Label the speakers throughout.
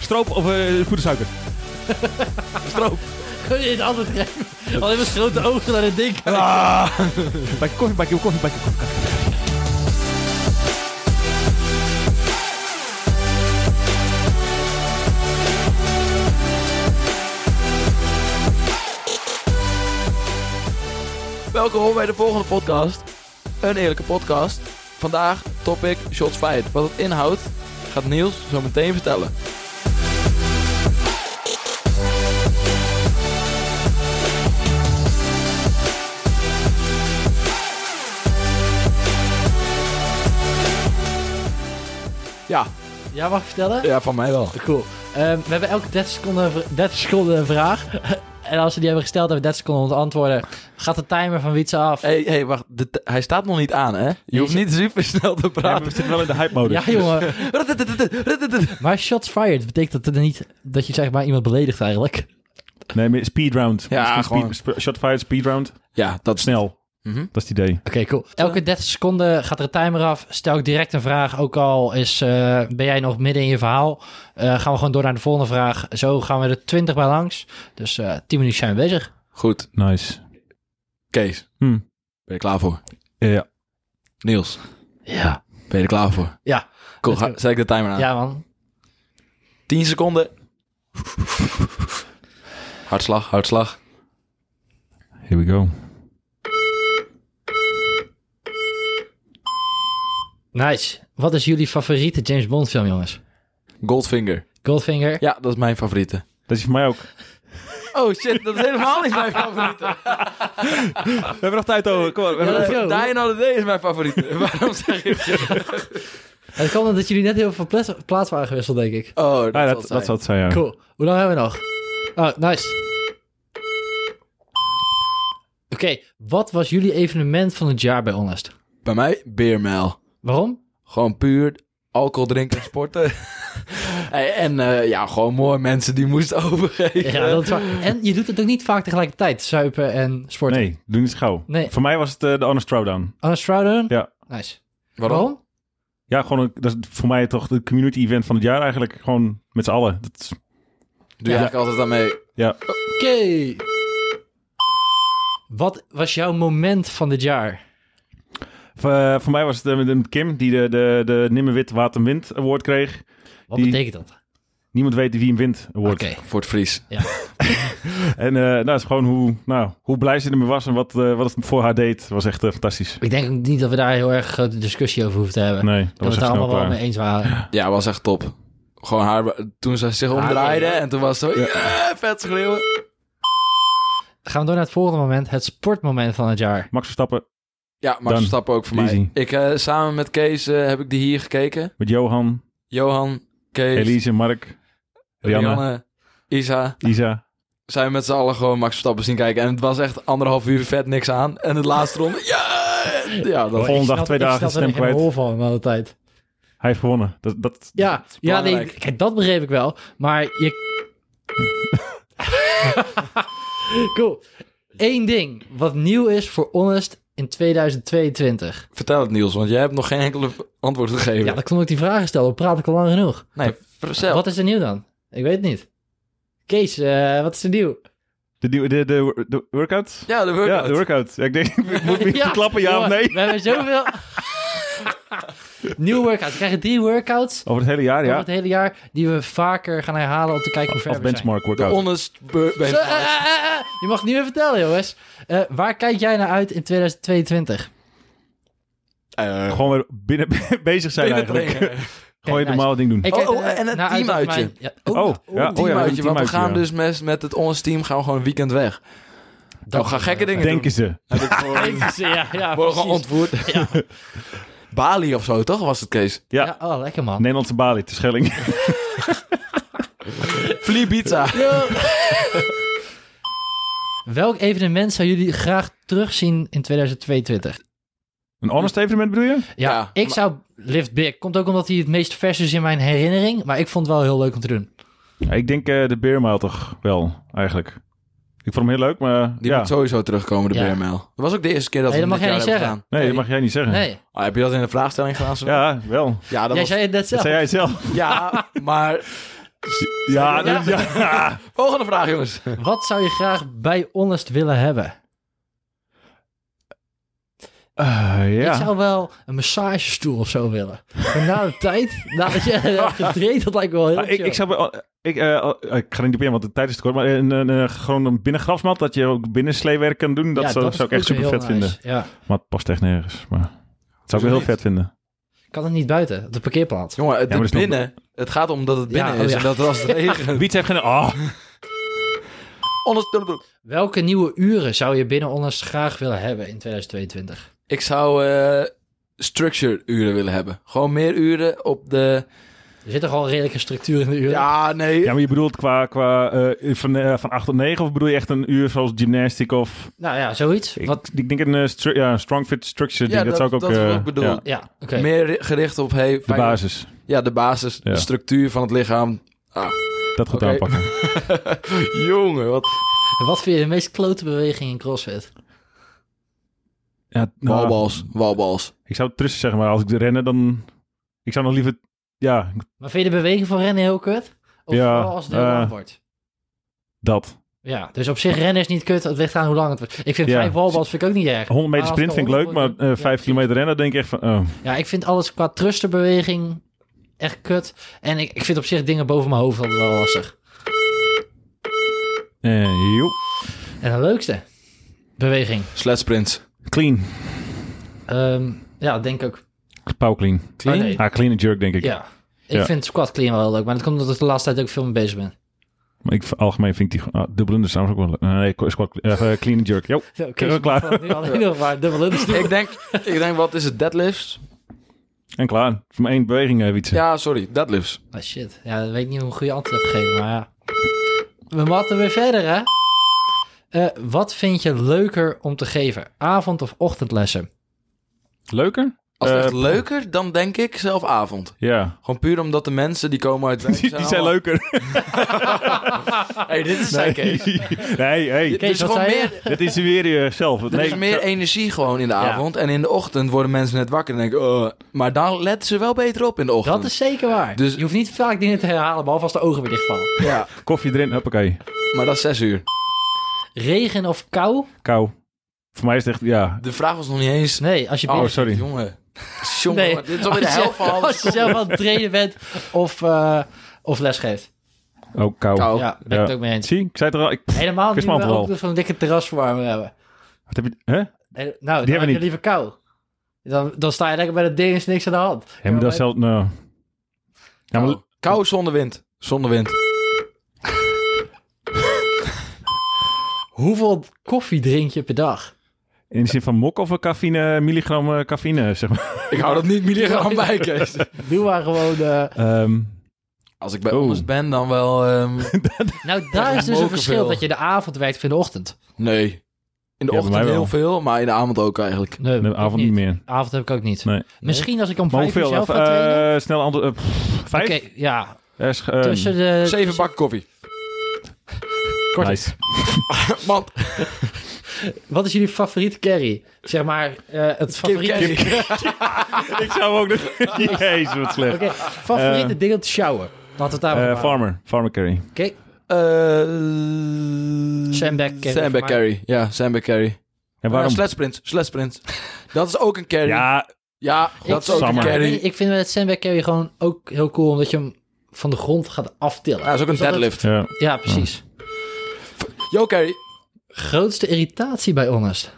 Speaker 1: Stroop of eh poedersuiker? Stroop.
Speaker 2: Kun je het antwoord geven? Alleen met grote ogen naar het ding.
Speaker 1: Ah. Bakje koffie, bakje koffie, bakje koffie.
Speaker 3: Welkom horen bij de volgende podcast. Een eerlijke podcast. Vandaag topic Shots Fired. Wat het inhoudt, gaat Niels zo meteen vertellen. Ja,
Speaker 2: Ja, mag ik vertellen?
Speaker 3: ja, van mij wel.
Speaker 2: Cool. Ehm, we hebben elke 30 seconden, een vr- 30 seconden een vraag. en als we die hebben gesteld, hebben we 30 seconden om te antwoorden. Gaat de timer van Wietse af?
Speaker 3: Hé, hey, hey, wacht. De t- hij staat nog niet aan, hè? Je hoeft niet super snel te
Speaker 1: Ja, we
Speaker 3: praten.
Speaker 1: zitten wel in de hype-mode.
Speaker 2: Ja, jongen. Maar shots fired betekent dat er niet dat je zeg maar iemand beledigt eigenlijk.
Speaker 1: Nee, maar speedround.
Speaker 3: Ja,
Speaker 1: Misschien
Speaker 3: gewoon.
Speaker 1: Speed, sp- shot fired, speedround.
Speaker 3: Ja, dat is...
Speaker 1: Snel.
Speaker 3: Mhm.
Speaker 1: Dat is het idee.
Speaker 2: Oké, cool. Elke 30 seconden gaat er een timer af. Stel ik direct een vraag, ook al is, eh, ben jij nog midden in je verhaal. Eh, gaan we gewoon door naar de volgende vraag. Zo gaan we er 20 bij langs. Dus eh 10 minuten zijn we bezig.
Speaker 3: Goed,
Speaker 1: Nice.
Speaker 3: Kees.
Speaker 1: Hm.
Speaker 3: Ben je klaar voor?
Speaker 1: Ja.
Speaker 3: Niels,
Speaker 2: Ja.
Speaker 3: ben je er klaar voor?
Speaker 2: Ja.
Speaker 3: Cool,
Speaker 2: Let's
Speaker 3: ga, zet ik de timer aan.
Speaker 2: Ja, man.
Speaker 3: 10 seconden. Hartslag, hartslag.
Speaker 1: Here we go.
Speaker 2: Nice. Wat is jullie favoriete James Bond film, jongens?
Speaker 3: Goldfinger.
Speaker 2: Goldfinger?
Speaker 3: Ja, dat is mijn favoriete.
Speaker 1: Dat is voor mij ook.
Speaker 3: Oh shit, dat is helemaal niet mijn favoriete.
Speaker 1: We hebben nog tijd over. Kom maar. We hebben-
Speaker 2: let's go.
Speaker 3: Die Another Day is mijn favoriete. Waarom zeg ik je?
Speaker 2: Het kan omdat jullie net heel veel pla- plaats waren gewisseld, denk ik.
Speaker 3: Oh, dat,
Speaker 1: Ja,
Speaker 3: zal
Speaker 1: dat,
Speaker 3: het zijn.
Speaker 1: dat zal het zijn, ja.
Speaker 2: Cool. Hoe lang hebben we nog? Oh, nice. Oké, wat was jullie evenement van het jaar bij Honest?
Speaker 3: Bij mij, beermel.
Speaker 2: Waarom?
Speaker 3: Gewoon puur alcohol drinken en sporten. Hey, en eh, ja, gewoon mooi mensen die moesten overgeven.
Speaker 2: Ja, dat is
Speaker 1: eh,
Speaker 2: waar. En je doet het ook niet vaak tegelijkertijd, suipen en sporten.
Speaker 1: Nee, doe niet zo gauw.
Speaker 2: Nee.
Speaker 1: Voor mij was het eh, de Honest Throwdown.
Speaker 2: Anna Strouden?
Speaker 1: Ja.
Speaker 2: Nice.
Speaker 3: Waarom?
Speaker 1: Ja, gewoon een- dat is voor mij toch de community event van het jaar eigenlijk. Gewoon met z'n allen. Dat is-
Speaker 3: Doe je
Speaker 2: Ja.
Speaker 3: eigenlijk altijd aan mee.
Speaker 1: ja.
Speaker 2: Oké. Wat was jouw moment van dit jaar?
Speaker 1: Voor, eh, voor mij was het eh, met met Kim die de, de, de Nimmerwit Waterwind Award kreeg.
Speaker 2: Wat
Speaker 1: Die-
Speaker 2: betekent dat?
Speaker 1: Niemand weet wie hem wint
Speaker 2: Oké.
Speaker 1: award.
Speaker 3: Voor het Fries.
Speaker 1: En eh, nou, het is gewoon hoe, nou, hoe blij ze ermee was en wat, eh, wat het voor haar deed. was echt eh, fantastisch.
Speaker 2: Ik denk ook niet dat we daar heel erg grote discussie over hoeven te hebben.
Speaker 1: Nee, dat
Speaker 2: dat we
Speaker 1: was
Speaker 2: het
Speaker 1: echt
Speaker 2: daar
Speaker 1: snel
Speaker 2: allemaal wel mee
Speaker 1: klaar.
Speaker 2: eens waren.
Speaker 3: Ja, was echt top. Gewoon haar, toen ze zich omdraaide
Speaker 2: ja, ja.
Speaker 3: en toen was het zo, "Yeah, vet schreeuwen.
Speaker 2: Gaan we door naar het volgende moment, het sportmoment van het jaar.
Speaker 1: Max Verstappen
Speaker 3: Ja, Max
Speaker 1: Dan.
Speaker 3: Verstappen ook voor
Speaker 1: Easy.
Speaker 3: mij. Ik, eh, samen met Kees eh, heb ik die hier gekeken.
Speaker 1: met Johan,
Speaker 3: Johan, Kees,
Speaker 1: Elise, Mark, Rianne,
Speaker 3: Rianne, Isa.
Speaker 1: Isa.
Speaker 3: Zijn we met z'n allen gewoon Max Verstappen zien kijken. En het was echt anderhalf uur vet niks aan. En het laatste ronde, yeah! ja! Dat,
Speaker 1: Volgende
Speaker 2: Ik
Speaker 1: dag,
Speaker 2: snap-
Speaker 1: twee dagen, stem
Speaker 2: Ik snap er
Speaker 1: kwijt.
Speaker 2: geen hol van de hele tijd.
Speaker 1: Hij heeft gewonnen. Dat, dat,
Speaker 2: Ja, ja nee,
Speaker 3: belangrijk.
Speaker 2: kijk, dat begreep ik wel. Maar je... cool. Eén ding wat nieuw is voor Honest in 2022.
Speaker 3: Vertel het Niels, want jij hebt nog geen enkele antwoord gegeven.
Speaker 2: Ja, dat kon ik die vragen stellen. Dan praat ik al lang genoeg.
Speaker 3: Nee, vertel.
Speaker 2: Wat is er nieuw dan? Ik weet het niet. Kees, eh, wat is er nieuw?
Speaker 1: de, nieuwe- de, de, de workout?
Speaker 3: Ja, de workout.
Speaker 1: Ja, de workout. Ja, ik denk, ik moet niet
Speaker 2: Ja,
Speaker 1: klappen, ja of
Speaker 2: jongen,
Speaker 1: nee?
Speaker 2: We hebben zoveel... Nieuwe workouts. We krijgen drie workouts
Speaker 1: Over het hele jaar,
Speaker 2: over
Speaker 1: ja.
Speaker 2: het hele jaar... die we vaker gaan herhalen om te kijken hoe ver
Speaker 1: Als
Speaker 2: we zijn.
Speaker 1: benchmark
Speaker 3: De
Speaker 1: workout.
Speaker 3: honest... be- ben-
Speaker 2: Zo, eh, eh, eh, eh. Je mag het niet meer vertellen, jongens. Eh, waar kijk jij naar uit in 2022? Oh,
Speaker 3: Eh,
Speaker 1: Gewoon weer binnen bezig zijn
Speaker 3: binnen
Speaker 1: eigenlijk.
Speaker 3: trainen.
Speaker 1: Gewoon je
Speaker 2: nice.
Speaker 1: normale ding doen.
Speaker 2: Ik
Speaker 3: Oh,
Speaker 2: kijk,
Speaker 3: oh,
Speaker 2: eh,
Speaker 3: en
Speaker 2: naar
Speaker 3: het
Speaker 2: uit dat
Speaker 3: teamuitje.
Speaker 2: mijn- ja,
Speaker 1: Oh, ja. Oh, ja, we hebben een
Speaker 3: teamuitje, want we
Speaker 1: teamuitje,
Speaker 3: gaan
Speaker 1: ja.
Speaker 3: dus met, met het ons team gaan we gewoon weekend weg.
Speaker 2: dat-
Speaker 3: oh, ga gekke dingen
Speaker 1: Denken ze.
Speaker 3: doen. Heb ik gehoord.
Speaker 2: Denken ze, Ja, ja,
Speaker 3: Worden
Speaker 2: precies.
Speaker 3: gewoon ontvoerd. Bali of zo, toch was het, Kees?
Speaker 1: Ja.
Speaker 2: Ja, oh, lekker man.
Speaker 1: Nederlandse Bali, te Schelling.
Speaker 3: Flibiza.
Speaker 2: Welk evenement zou jullie graag terugzien in 2022?
Speaker 1: Een honest evenement bedoel je?
Speaker 2: Ja,
Speaker 3: Ja,
Speaker 2: ik
Speaker 3: maar-
Speaker 2: zou Lift Big. Komt ook omdat hij het meest vers is in mijn herinnering. Maar ik vond het wel heel leuk om te doen.
Speaker 1: Ja, ik denk eh, de beermaal toch wel, eigenlijk. Ik vond hem heel leuk, maar
Speaker 3: Die
Speaker 1: ja.
Speaker 3: moet sowieso terugkomen, de
Speaker 2: Ja.
Speaker 3: BML. Dat was ook de eerste keer dat
Speaker 2: Nee,
Speaker 3: we
Speaker 2: dat
Speaker 3: hem
Speaker 2: mag
Speaker 3: dit
Speaker 2: jij
Speaker 3: jaar
Speaker 2: niet
Speaker 3: hebben
Speaker 1: Nee, dat mag jij niet zeggen.
Speaker 2: Nee,
Speaker 3: gedaan. Ah, heb je dat in de vraagstelling gedaan? Sven?
Speaker 1: Ja, wel.
Speaker 3: ja dat
Speaker 2: jij
Speaker 3: was...
Speaker 2: zei het net
Speaker 1: Dat
Speaker 2: zelf.
Speaker 1: zei jij zelf.
Speaker 3: ja maar
Speaker 1: Ja, dus- ja.
Speaker 3: Volgende vraag, jongens.
Speaker 2: Wat zou je graag bij Honest willen hebben?
Speaker 1: Eh,
Speaker 2: Ik
Speaker 1: ja.
Speaker 2: zou wel een massagestoel of zo willen. Maar na de tijd, nadat je hebt getraind, dat lijkt me wel heel
Speaker 1: Ah, ik,
Speaker 2: chill.
Speaker 1: ik zou... bij- Ik, eh, eh, ik ga niet op in, want de tijd is te kort. Maar een, een, eh, gewoon een binnengrasmat, dat je ook binnensleewerk kan doen. Dat,
Speaker 2: Ja,
Speaker 1: zou,
Speaker 2: dat is
Speaker 1: zou ik echt
Speaker 2: ook
Speaker 1: super vet
Speaker 2: heel
Speaker 1: vinden.
Speaker 2: nice. Ja.
Speaker 1: Maar het past echt nergens. Maar dat zou ik
Speaker 3: Hoezo
Speaker 1: wel heel
Speaker 3: niet?
Speaker 1: vet vinden.
Speaker 2: Kan het niet buiten, op de parkeerplaats.
Speaker 3: Jongen, het
Speaker 1: maar dat is nog-
Speaker 3: binnen. Het gaat om dat het binnen
Speaker 2: Ja, oh
Speaker 3: is
Speaker 2: ja.
Speaker 3: en dat als het regent...
Speaker 1: Wiets heeft geen... Oh,
Speaker 3: Honest Tullenbroek.
Speaker 2: Welke nieuwe uren zou je binnen Honest graag willen hebben in 2022?
Speaker 3: Ik zou eh structured uren willen hebben. Gewoon meer uren op de...
Speaker 2: Er zit toch al een redelijke structuur in de uren?
Speaker 3: Ja, nee.
Speaker 1: ja, maar je bedoelt qua, qua eh, van, eh, van 8 tot 9? Of bedoel je echt een uur zoals gymnastiek of...
Speaker 2: Nou ja, zoiets.
Speaker 1: Ik,
Speaker 2: Wat?
Speaker 1: ik denk een eh, stru- ja, strong fit structure.
Speaker 3: Ja,
Speaker 1: ding, dat, zou
Speaker 3: dat-
Speaker 1: ik ook...
Speaker 3: dat is wat
Speaker 1: eh,
Speaker 3: ik bedoel.
Speaker 1: ja,
Speaker 2: Ja, oké.
Speaker 3: Meer ri- gericht op... Hey,
Speaker 1: de
Speaker 3: fijn-
Speaker 1: basis.
Speaker 3: Ja, de basis.
Speaker 1: Ja.
Speaker 3: De structuur van het lichaam.
Speaker 1: Dat goed
Speaker 3: Oké.
Speaker 1: aanpakken.
Speaker 3: Jongen, wat...
Speaker 2: Wat vind je de meest klote beweging in CrossFit?
Speaker 1: Ja, nou,
Speaker 3: Walbals, walbals.
Speaker 1: Ik zou het trusten zeggen, maar als ik de rennen, dan... Ik zou nog liever... Ja,
Speaker 2: Maar vind je de beweging van rennen heel kut? Of
Speaker 1: Ja,
Speaker 2: vooral als het heel
Speaker 1: eh,
Speaker 2: lang wordt?
Speaker 1: dat.
Speaker 2: Ja, dus op zich rennen is niet kut. Het ligt aan hoe lang het wordt. Ik vind
Speaker 1: Ja.
Speaker 2: vijf walbals vind ik ook niet erg.
Speaker 1: 100 meter
Speaker 2: Maar Ah, als
Speaker 1: sprint
Speaker 2: het
Speaker 1: vind ik leuk, maar
Speaker 2: honderd
Speaker 1: eh
Speaker 2: wordt,
Speaker 1: 5
Speaker 2: ja, precies.
Speaker 1: kilometer rennen denk ik echt van... oh.
Speaker 2: Ja, ik vind alles qua trusterbeweging echt kut. En ik, ik vind op zich dingen boven mijn hoofd altijd wel lastig.
Speaker 1: Eh, joep.
Speaker 2: En de leukste beweging.
Speaker 3: Sledsprints.
Speaker 1: Clean.
Speaker 2: Ehm, ja, denk ook.
Speaker 1: Power clean.
Speaker 2: Clean? Oh, nee.
Speaker 1: Ah, clean en jerk denk ik.
Speaker 2: Ja. Ik
Speaker 1: Ja.
Speaker 2: vind squat clean wel heel leuk, maar dat komt omdat ik de laatste tijd ook veel mee bezig ben.
Speaker 1: Maar ik, algemeen vind ik die... Ah, dubbel under trouwens ook wel... eh, Nee, squat, eh, eh, clean en jerk. Jo.
Speaker 2: Oké,
Speaker 1: we
Speaker 3: dus
Speaker 1: klaar?
Speaker 2: Nu alleen nog maar dubbel in
Speaker 3: ik, denk, ik denk, wat is het? Deadlifts?
Speaker 1: En klaar. Voor maar één beweging eh, even iets.
Speaker 3: Ja, sorry. Deadlifts.
Speaker 2: Ah shit, ja, dat weet ik niet hoe een goede antwoord heb gegeven, maar ja. We matten weer verder, hè? Eh, wat vind je leuker om te geven? Avond- of ochtendlessen?
Speaker 1: Leuker?
Speaker 3: Als het
Speaker 1: Eh,
Speaker 3: echt leuker, dan denk ik zelf avond.
Speaker 1: Ja.
Speaker 3: Gewoon puur omdat de mensen die komen uit...
Speaker 1: Die, die zijn leuker.
Speaker 3: Hey, dit is zijn
Speaker 1: Nee,
Speaker 3: Kees.
Speaker 1: nee hey.
Speaker 3: Dit is
Speaker 2: wat
Speaker 3: gewoon
Speaker 2: zei je?
Speaker 3: meer...
Speaker 1: Dat is weer jezelf.
Speaker 3: Er
Speaker 1: nee,
Speaker 3: is meer energie gewoon in de
Speaker 2: Ja.
Speaker 3: avond. En in de ochtend worden mensen net wakker en denken... "Oh." maar dan letten ze wel beter op in de ochtend.
Speaker 2: Dat is zeker waar. Dus...
Speaker 3: Dus-
Speaker 2: Je hoeft niet vaak dingen te herhalen, behalve als de ogen weer dichtvallen.
Speaker 3: Ja,
Speaker 1: Koffie erin, hoppakee.
Speaker 3: maar dat is zes uur.
Speaker 2: Regen of kou?
Speaker 1: Kou. Voor mij is het echt... Ja.
Speaker 3: De vraag was nog niet eens...
Speaker 2: Nee, als je
Speaker 1: Oh,
Speaker 2: binnen-
Speaker 1: sorry.
Speaker 3: Jongen. Jongen,
Speaker 2: Nee. Oh,
Speaker 3: dit is alweer de
Speaker 2: als je-
Speaker 3: helft van
Speaker 2: Als
Speaker 3: alles.
Speaker 2: je zelf aan het trainen bent of, eh of les geeft.
Speaker 1: Oh, kou.
Speaker 3: Kou.
Speaker 2: Ja, ben ik
Speaker 1: Ja.
Speaker 2: het ook mee eens.
Speaker 1: Zie, ik zei het er al. Ik, pff,
Speaker 2: Helemaal niet
Speaker 1: Chris
Speaker 2: we
Speaker 1: Mantel
Speaker 2: ook
Speaker 1: wel.
Speaker 2: zo'n dikke terrasverwarmer hebben.
Speaker 1: wat heb je... Hè?
Speaker 2: Eh, Nou, dan heb
Speaker 1: hebben we
Speaker 2: je
Speaker 1: niet.
Speaker 2: liever kou. Dan, dan sta je lekker bij dat ding is niks aan de hand.
Speaker 1: Ja, maar dat is zelf... Nou. Ja, maar
Speaker 3: Kou. Kou zonder wind. Zonder wind.
Speaker 2: Hoeveel koffie drink je per dag?
Speaker 1: in de zin van mok of een cafeïne, milligram eh, cafeïne, zeg maar.
Speaker 3: Ik hou dat niet milligram bij, Kees.
Speaker 2: Doe maar gewoon... eh,
Speaker 1: Ehm,
Speaker 3: Als ik bij
Speaker 1: Oh.
Speaker 3: ons ben, dan wel... ehm,
Speaker 2: Nou, daar is dus een
Speaker 3: mokerveel.
Speaker 2: verschil dat je de avond werkt of in de ochtend.
Speaker 3: nee. In de
Speaker 1: Ja, bij mij
Speaker 3: ochtend
Speaker 1: wel.
Speaker 3: heel veel, maar in de avond ook eigenlijk.
Speaker 2: Nee,
Speaker 1: de
Speaker 2: ik
Speaker 1: avond niet meer.
Speaker 2: Avond heb ik ook niet.
Speaker 1: Nee.
Speaker 2: Misschien als ik om
Speaker 1: Maar
Speaker 2: vijf uur
Speaker 1: hoeveel?
Speaker 2: zelf
Speaker 1: Of,
Speaker 2: ga trainen.
Speaker 1: eh, snel ander... eh, pff, vijf?
Speaker 2: Oké, ja.
Speaker 1: Er is, eh,
Speaker 2: Tussen de...
Speaker 3: Zeven bakken koffie.
Speaker 2: korte-
Speaker 1: nice.
Speaker 3: Man,
Speaker 2: Wat is jullie favoriete carry? Zeg maar, eh, het favoriete...
Speaker 3: Carry.
Speaker 1: ik zou ook nog... Jezus, wat slecht.
Speaker 2: Oké, favoriete ding om te showen. Laten we het daar maar
Speaker 1: Eh,
Speaker 2: op
Speaker 1: farmer.
Speaker 2: houden.
Speaker 1: Farmer carry.
Speaker 2: Oké,
Speaker 3: Eh,
Speaker 2: Sandbag carry voor
Speaker 3: Sandbag
Speaker 2: mij.
Speaker 3: carry. Ja, sandbag carry.
Speaker 2: Eh,
Speaker 1: En waarom?
Speaker 3: Ja, sledsprints. Sledsprints. dat is ook een carry. Ja,
Speaker 1: Ja,
Speaker 3: dat is ook
Speaker 1: Summer.
Speaker 3: een
Speaker 2: Ik,
Speaker 3: carry.
Speaker 2: ik vind het sandbag carry gewoon ook heel cool, omdat je hem van de grond gaat aftillen.
Speaker 3: Ja, dat is ook een
Speaker 2: Dus dat
Speaker 3: deadlift.
Speaker 1: ja.
Speaker 2: het- ja, precies.
Speaker 3: Yo, carry.
Speaker 2: Grootste irritatie bij Honest?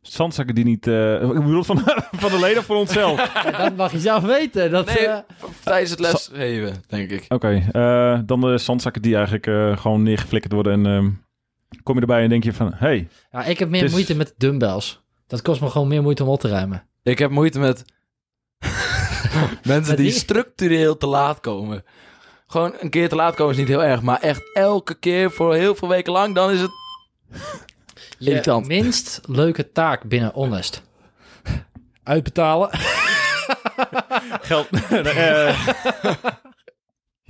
Speaker 1: Zandzakken die niet... eh ik bedoel, van, van de leden voor onszelf. Oké,
Speaker 2: Ja, dat mag je zelf weten. Dat,
Speaker 3: Nee,
Speaker 2: eh,
Speaker 3: tijdens het lesgeven, denk ik.
Speaker 1: eh, dan de zandzakken die eigenlijk eh, gewoon neergeflikkerd worden. En ehm, kom je erbij en denk je van... Hey,
Speaker 2: ja, ik heb meer
Speaker 1: het is-
Speaker 2: moeite met dumbbells. Dat kost me gewoon meer moeite om op te ruimen.
Speaker 3: Ik heb moeite met mensen
Speaker 2: Met
Speaker 3: die
Speaker 2: wie?
Speaker 3: structureel te laat komen. Gewoon een keer te laat komen is niet heel erg, maar echt elke keer voor heel veel weken lang, dan is het...
Speaker 2: Je
Speaker 3: Irritant.
Speaker 2: minst leuke taak binnen Honest? Uitbetalen.
Speaker 1: geld. Eh,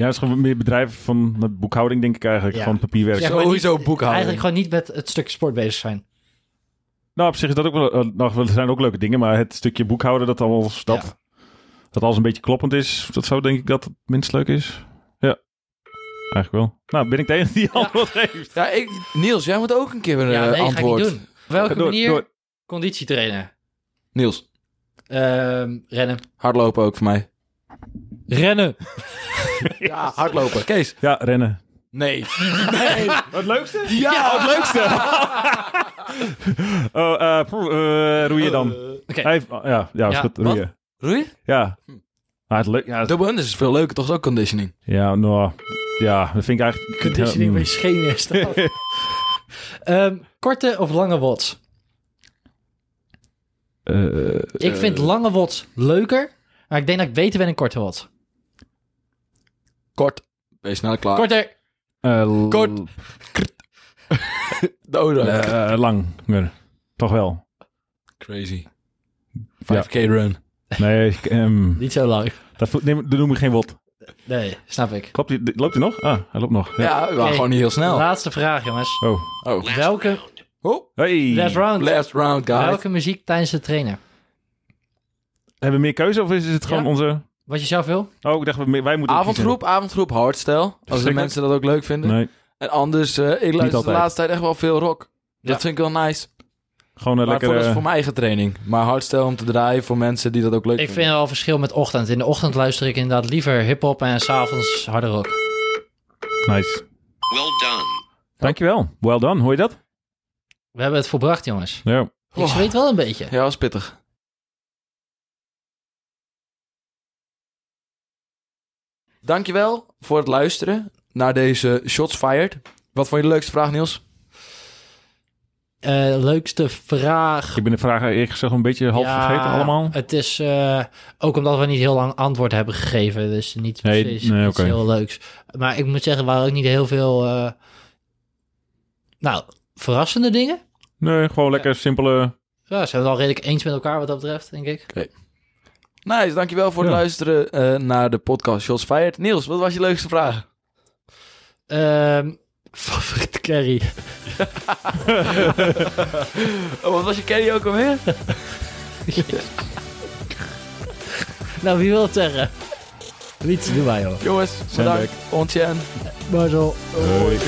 Speaker 1: ja, dat is gewoon meer bedrijven van de boekhouding, denk ik eigenlijk.
Speaker 2: Ja.
Speaker 1: Gewoon papierwerk.
Speaker 2: Ja, maar
Speaker 3: Sowieso
Speaker 2: niet-
Speaker 3: boekhouding.
Speaker 2: Eigenlijk gewoon niet met het stuk sport bezig zijn.
Speaker 1: Nou, op zich is dat ook wel. eh, nou, er zijn ook leuke dingen, maar het stukje boekhouden, dat alles, dat, dat alles een beetje kloppend is, dat zou denk ik dat het minst leuk is. Eigenlijk wel. Nou, ben ik tegen die antwoord geeft.
Speaker 3: Ja, ik, Niels, jij moet ook een keer een
Speaker 2: ja,
Speaker 3: eh,
Speaker 2: nee, ga ik
Speaker 3: antwoord.
Speaker 2: niet doen. Op welke
Speaker 1: Door, door.
Speaker 2: manier conditie trainen?
Speaker 3: Niels,
Speaker 2: Ehm, rennen.
Speaker 3: hardlopen ook voor mij.
Speaker 2: Rennen.
Speaker 3: Ja, Ah, hardlopen. Kees.
Speaker 1: Ja, rennen.
Speaker 3: Nee.
Speaker 1: Het leukste?
Speaker 3: Ja, het leukste.
Speaker 1: Oh, eh, poeh, eh, roeien dan.
Speaker 2: Oké.
Speaker 1: Hij heeft- oh, ja, ja, is
Speaker 2: Ja,
Speaker 1: goed, roeien.
Speaker 3: Roei?
Speaker 1: Ja. Maar het leuk, ja, het-
Speaker 3: Double unders is veel leuker, toch? Is ook conditioning.
Speaker 1: ja, nou, ja, dat vind ik eigenlijk...
Speaker 2: Conditioning
Speaker 1: ja, mm.
Speaker 2: bij je schenen is dat. Ehm, korte of lange wots?
Speaker 1: Eh,
Speaker 2: Ik vind lange wots leuker, maar ik denk dat ik beter ben in korte wots.
Speaker 3: Kort. Wees snel klaar.
Speaker 2: Korter.
Speaker 1: eh,
Speaker 3: Kort. Dodo.
Speaker 1: Eh, lang. Nee, Toch wel.
Speaker 3: Crazy. 5k run.
Speaker 1: Nee, ik, ehm,
Speaker 2: Niet zo lang.
Speaker 1: dat, voelt- nee, dat noem ik geen wot.
Speaker 2: Nee, snap ik.
Speaker 1: Klopt, die- die- loopt hij nog? Ah, hij loopt nog. Ja.
Speaker 3: Ja, we waren
Speaker 2: Oké.
Speaker 3: gewoon niet heel snel.
Speaker 2: Laatste vraag, jongens.
Speaker 1: Oh.
Speaker 3: Oh.
Speaker 2: Welke,
Speaker 3: Oh,
Speaker 1: Hey.
Speaker 2: last round.
Speaker 3: last round, guys.
Speaker 2: Welke muziek tijdens het trainen?
Speaker 1: Hebben we meer keuze of is het gewoon
Speaker 2: Ja.
Speaker 1: onze...
Speaker 2: Wat je zelf wil?
Speaker 1: Oh, ik dacht, we- wij moeten... ook
Speaker 3: Avondgroep, avondgroep, hardstyle. Als de
Speaker 1: Zeker.
Speaker 3: mensen dat ook leuk
Speaker 1: kiezen.
Speaker 3: vinden.
Speaker 1: Nee,
Speaker 3: En anders, eh, ik luister de
Speaker 1: altijd.
Speaker 3: laatste tijd echt wel veel rock.
Speaker 2: Ja.
Speaker 3: Dat vind ik wel nice.
Speaker 1: gewoon een
Speaker 3: Maar
Speaker 1: lekker...
Speaker 3: voor, dat is
Speaker 1: eh,
Speaker 3: voor mijn eigen training. Maar hardstyle om te draaien voor mensen die dat ook leuk
Speaker 2: Ik vind
Speaker 3: vinden.
Speaker 2: wel verschil met ochtend. In de ochtend luister ik inderdaad liever hip-hop en s'avonds harde rock.
Speaker 1: Nice.
Speaker 4: Well done.
Speaker 1: Dankjewel. Well done. Hoor je dat?
Speaker 2: We hebben het volbracht, jongens.
Speaker 1: Ja.
Speaker 2: Ik zweet wel een beetje.
Speaker 3: Ja, was pittig. Dankjewel voor het luisteren naar deze Shots Fired. Wat vond je de leukste vraag, Niels?
Speaker 2: Eh, leukste vraag.
Speaker 1: Ik ben de vraag eerlijk gezegd een beetje half
Speaker 2: Ja,
Speaker 1: vergeten allemaal.
Speaker 2: Het is eh, ook omdat we niet heel lang antwoord hebben gegeven. Dus niet
Speaker 1: Nee,
Speaker 2: precies
Speaker 1: nee,
Speaker 2: iets
Speaker 1: oké.
Speaker 2: heel leuks. Maar ik moet zeggen, er waren ook niet heel veel... eh, nou, verrassende dingen.
Speaker 1: Nee, gewoon lekker simpele...
Speaker 2: Ja, ze zijn het al redelijk eens met elkaar wat dat betreft, denk ik.
Speaker 3: Nice, dankjewel voor het
Speaker 1: Ja.
Speaker 3: luisteren eh, naar de podcast Shots Fired. Niels, wat was je leukste vraag?
Speaker 2: Ehm favoriete carry.
Speaker 3: Oh, wat was je carry ook alweer?
Speaker 2: nou, wie wil het zeggen? Niet doen wij, hoor.
Speaker 3: Jongens, bedankt. Ontjen.
Speaker 2: Maar zo.
Speaker 1: Hoi.